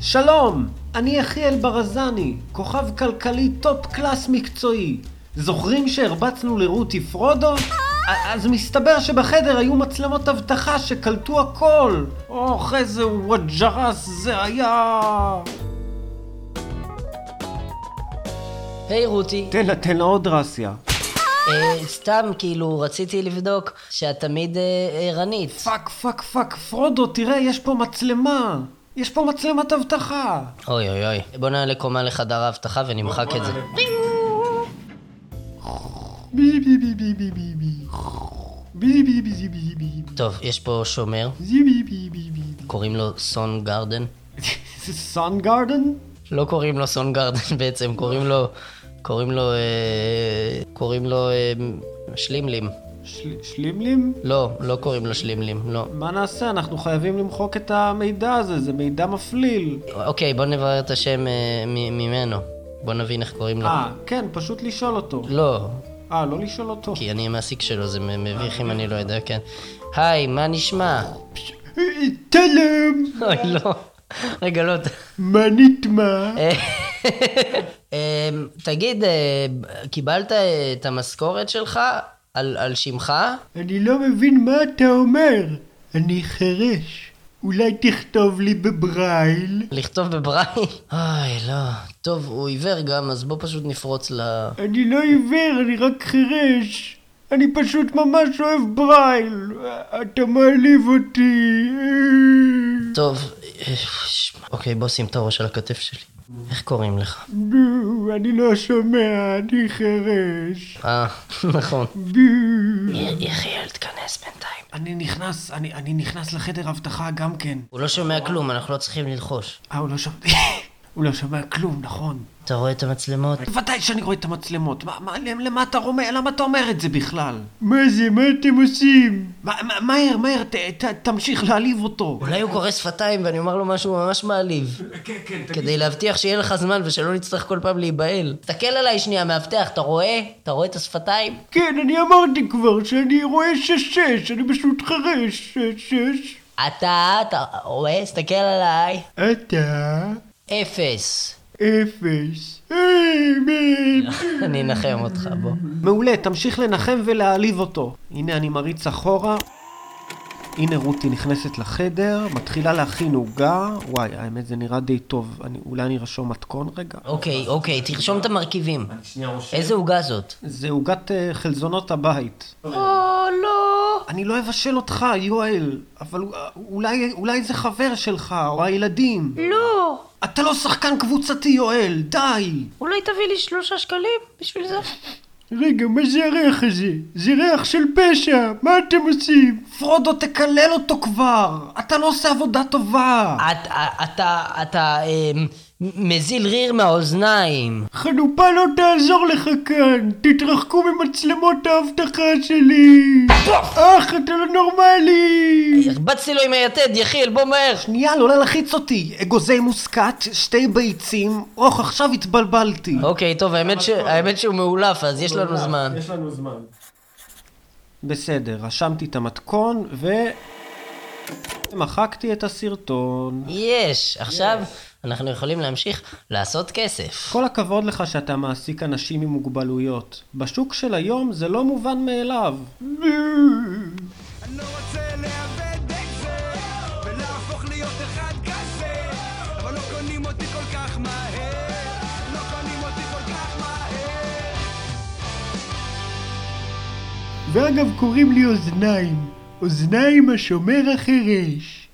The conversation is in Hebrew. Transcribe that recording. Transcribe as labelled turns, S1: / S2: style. S1: שלום, אני יחיאל ברזני, כוכב כלכלי טופ קלאס מקצועי. זוכרים שהרבצנו לרותי פרודו? אז מסתבר שבחדר היו מצלמות אבטחה שקלטו הכל. אוח, איזה וואג'רס זה היה.
S2: היי רותי,
S1: תן לה, תן לה עוד רסיה.
S2: אה, סתם כאילו רציתי לבדוק שאת תמיד אה, ערנית.
S1: פאק, פאק, פאק, פרודו, תראה, יש פה מצלמה. יש פה מצלמת אבטחה.
S2: אוי אוי אוי, בוא נעלה קומה לחדר האבטחה ונמחק את זה.
S1: בי בי בי בי בי בי בי. בי בי בי בי בי בי.
S2: טוב, יש פה שומר,
S1: בי בי בי בי בי.
S2: קוראים לו סון גרדן.
S1: זה סאן גארדן?
S2: לא קוראים לו סון גרדן בעצם, קוראים לו... קוראים לו... אה, קוראים לו... אה, שלימלים.
S1: של- שלימלים?
S2: לא, לא קוראים לו שלימלים, לא.
S1: מה נעשה? אנחנו חייבים למחוק את המידע הזה, זה מידע מפליל.
S2: אוקיי, בוא נברר את השם אה, מ- ממנו. בוא נבין איך קוראים לו.
S1: אה, כן, פשוט לשאול אותו.
S2: לא,
S1: אה, לא לשאול אותו.
S2: כי אני המעסיק שלו, זה מ- מביך אם אני לא יודע, כן. היי, מה נשמע?
S1: תלם,
S2: אוי, לא. רגע, לא. ת- אה,
S1: מה נטמע?
S2: אמ, תגיד, אה, קיבלת אה, את המשכורת שלך על על שמך?
S1: אני לא מבין מה אתה אומר. אני חירש. אולי תכתוב לי בברייל?
S2: לכתוב בברייל? אוי, לא. טוב, הוא עיוור גם, אז בוא פשוט נפרוץ ל...
S1: אני לא עיוור, אני רק חירש. אני פשוט ממש אוהב ברייל. אתה מעליב אותי.
S2: טוב, אה, שמע, אוקיי, בוא שים את הראש על הכתף שלי. איך קוראים לך?
S1: בו, אני לא שומע, אני חירש.
S2: אה, נכון.
S1: בו.
S2: י- יחיאל, תיכנס בינתיים.
S1: אני נכנס, אני, אני נכנס לחדר אבטחה גם כן.
S2: הוא לא שומע כלום, אנחנו לא צריכים ללחוש.
S1: אה, הוא לא שומע, הוא לא שומע כלום, נכון.
S2: אתה רואה את המצלמות?
S1: בוודאי שאני רואה את המצלמות. מה, מה, למה אתה אומר, למה אתה אומר את זה בכלל? מה זה, מה אתם עושים? מהר, מהר, ת, ת, תמשיך להעליב אותו.
S2: אולי הוא קורא שפתיים ואני אומר לו משהו ממש מעליב.
S1: כן, כן,
S2: כדי להבטיח שיהיה לך זמן ושלא נצטרך כל פעם להיבהל. תסתכל עליי שנייה, מאבטח, אתה רואה? אתה רואה את השפתיים?
S1: כן, אני אמרתי כבר שאני רואה שש-שש, אני פשוט חרש, שש-שש.
S2: אתה, אתה רואה? תסתכל עליי.
S1: אתה
S2: אפס.
S1: אפס. אה, היי, מן.
S2: אני אנחם אותך, בוא.
S1: מעולה, תמשיך לנחם ולהעליב אותו. הנה אני מריץ אחורה. הנה רותי נכנסת לחדר, מתחילה להכין עוגה. וואי, האמת זה נראה די טוב. אני, אולי אני רשום מתכון רגע?
S2: אוקיי, אוקיי, תרשום את המרכיבים.
S1: שנייה רושם.
S2: איזה עוגה זאת?
S1: זה עוגת אה, חלזונות הבית.
S3: אה,
S2: או, לא.
S1: אני לא אבשל אותך, יואל, אבל אה, אולי, אולי זה חבר שלך, או הילדים.
S3: לא,
S1: אתה לא שחקן קבוצתי, יואל, די!
S3: אולי תביא לי שלושה שקלים בשביל זה?
S1: רגע, מה זה הריח הזה? זה ריח של פשע, מה אתם עושים? פרודו, תקלל אותו כבר! אתה לא עושה עבודה טובה!
S2: אתה, אתה, אתה אמ, מזיל ריר מהאוזניים.
S1: חנופה לא תעזור לך כאן! תתרחקו ממצלמות האבטחה שלי! אך, אתה לא נורמלי!
S2: הרבצתי לו עם היתד, יחיאל, בוא מהר.
S1: שנייה, לא להלחיץ אותי! אגוזי מוסקת, שתי ביצים, אוח, עכשיו התבלבלתי.
S2: אוקיי, טוב, האמת ש- האמת שהוא מאולף, אז יש לנו זמן.
S1: בסדר, רשמתי את המתכון, ו... מחקתי את הסרטון.
S2: יש, עכשיו אנחנו יכולים להמשיך לעשות כסף.
S1: כל הכבוד לך שאתה מעסיק אנשים עם מוגבלויות. בשוק של היום זה לא מובן מאליו.
S4: אני לא רוצה לאבד את זה, ולהפוך להיות אחד כזה, אבל לא קונים אותי כל כך מהר, לא קונים אותי כל כך מהר.
S1: ואגב, קוראים לי אוזניים. אוזניים השומר החירש.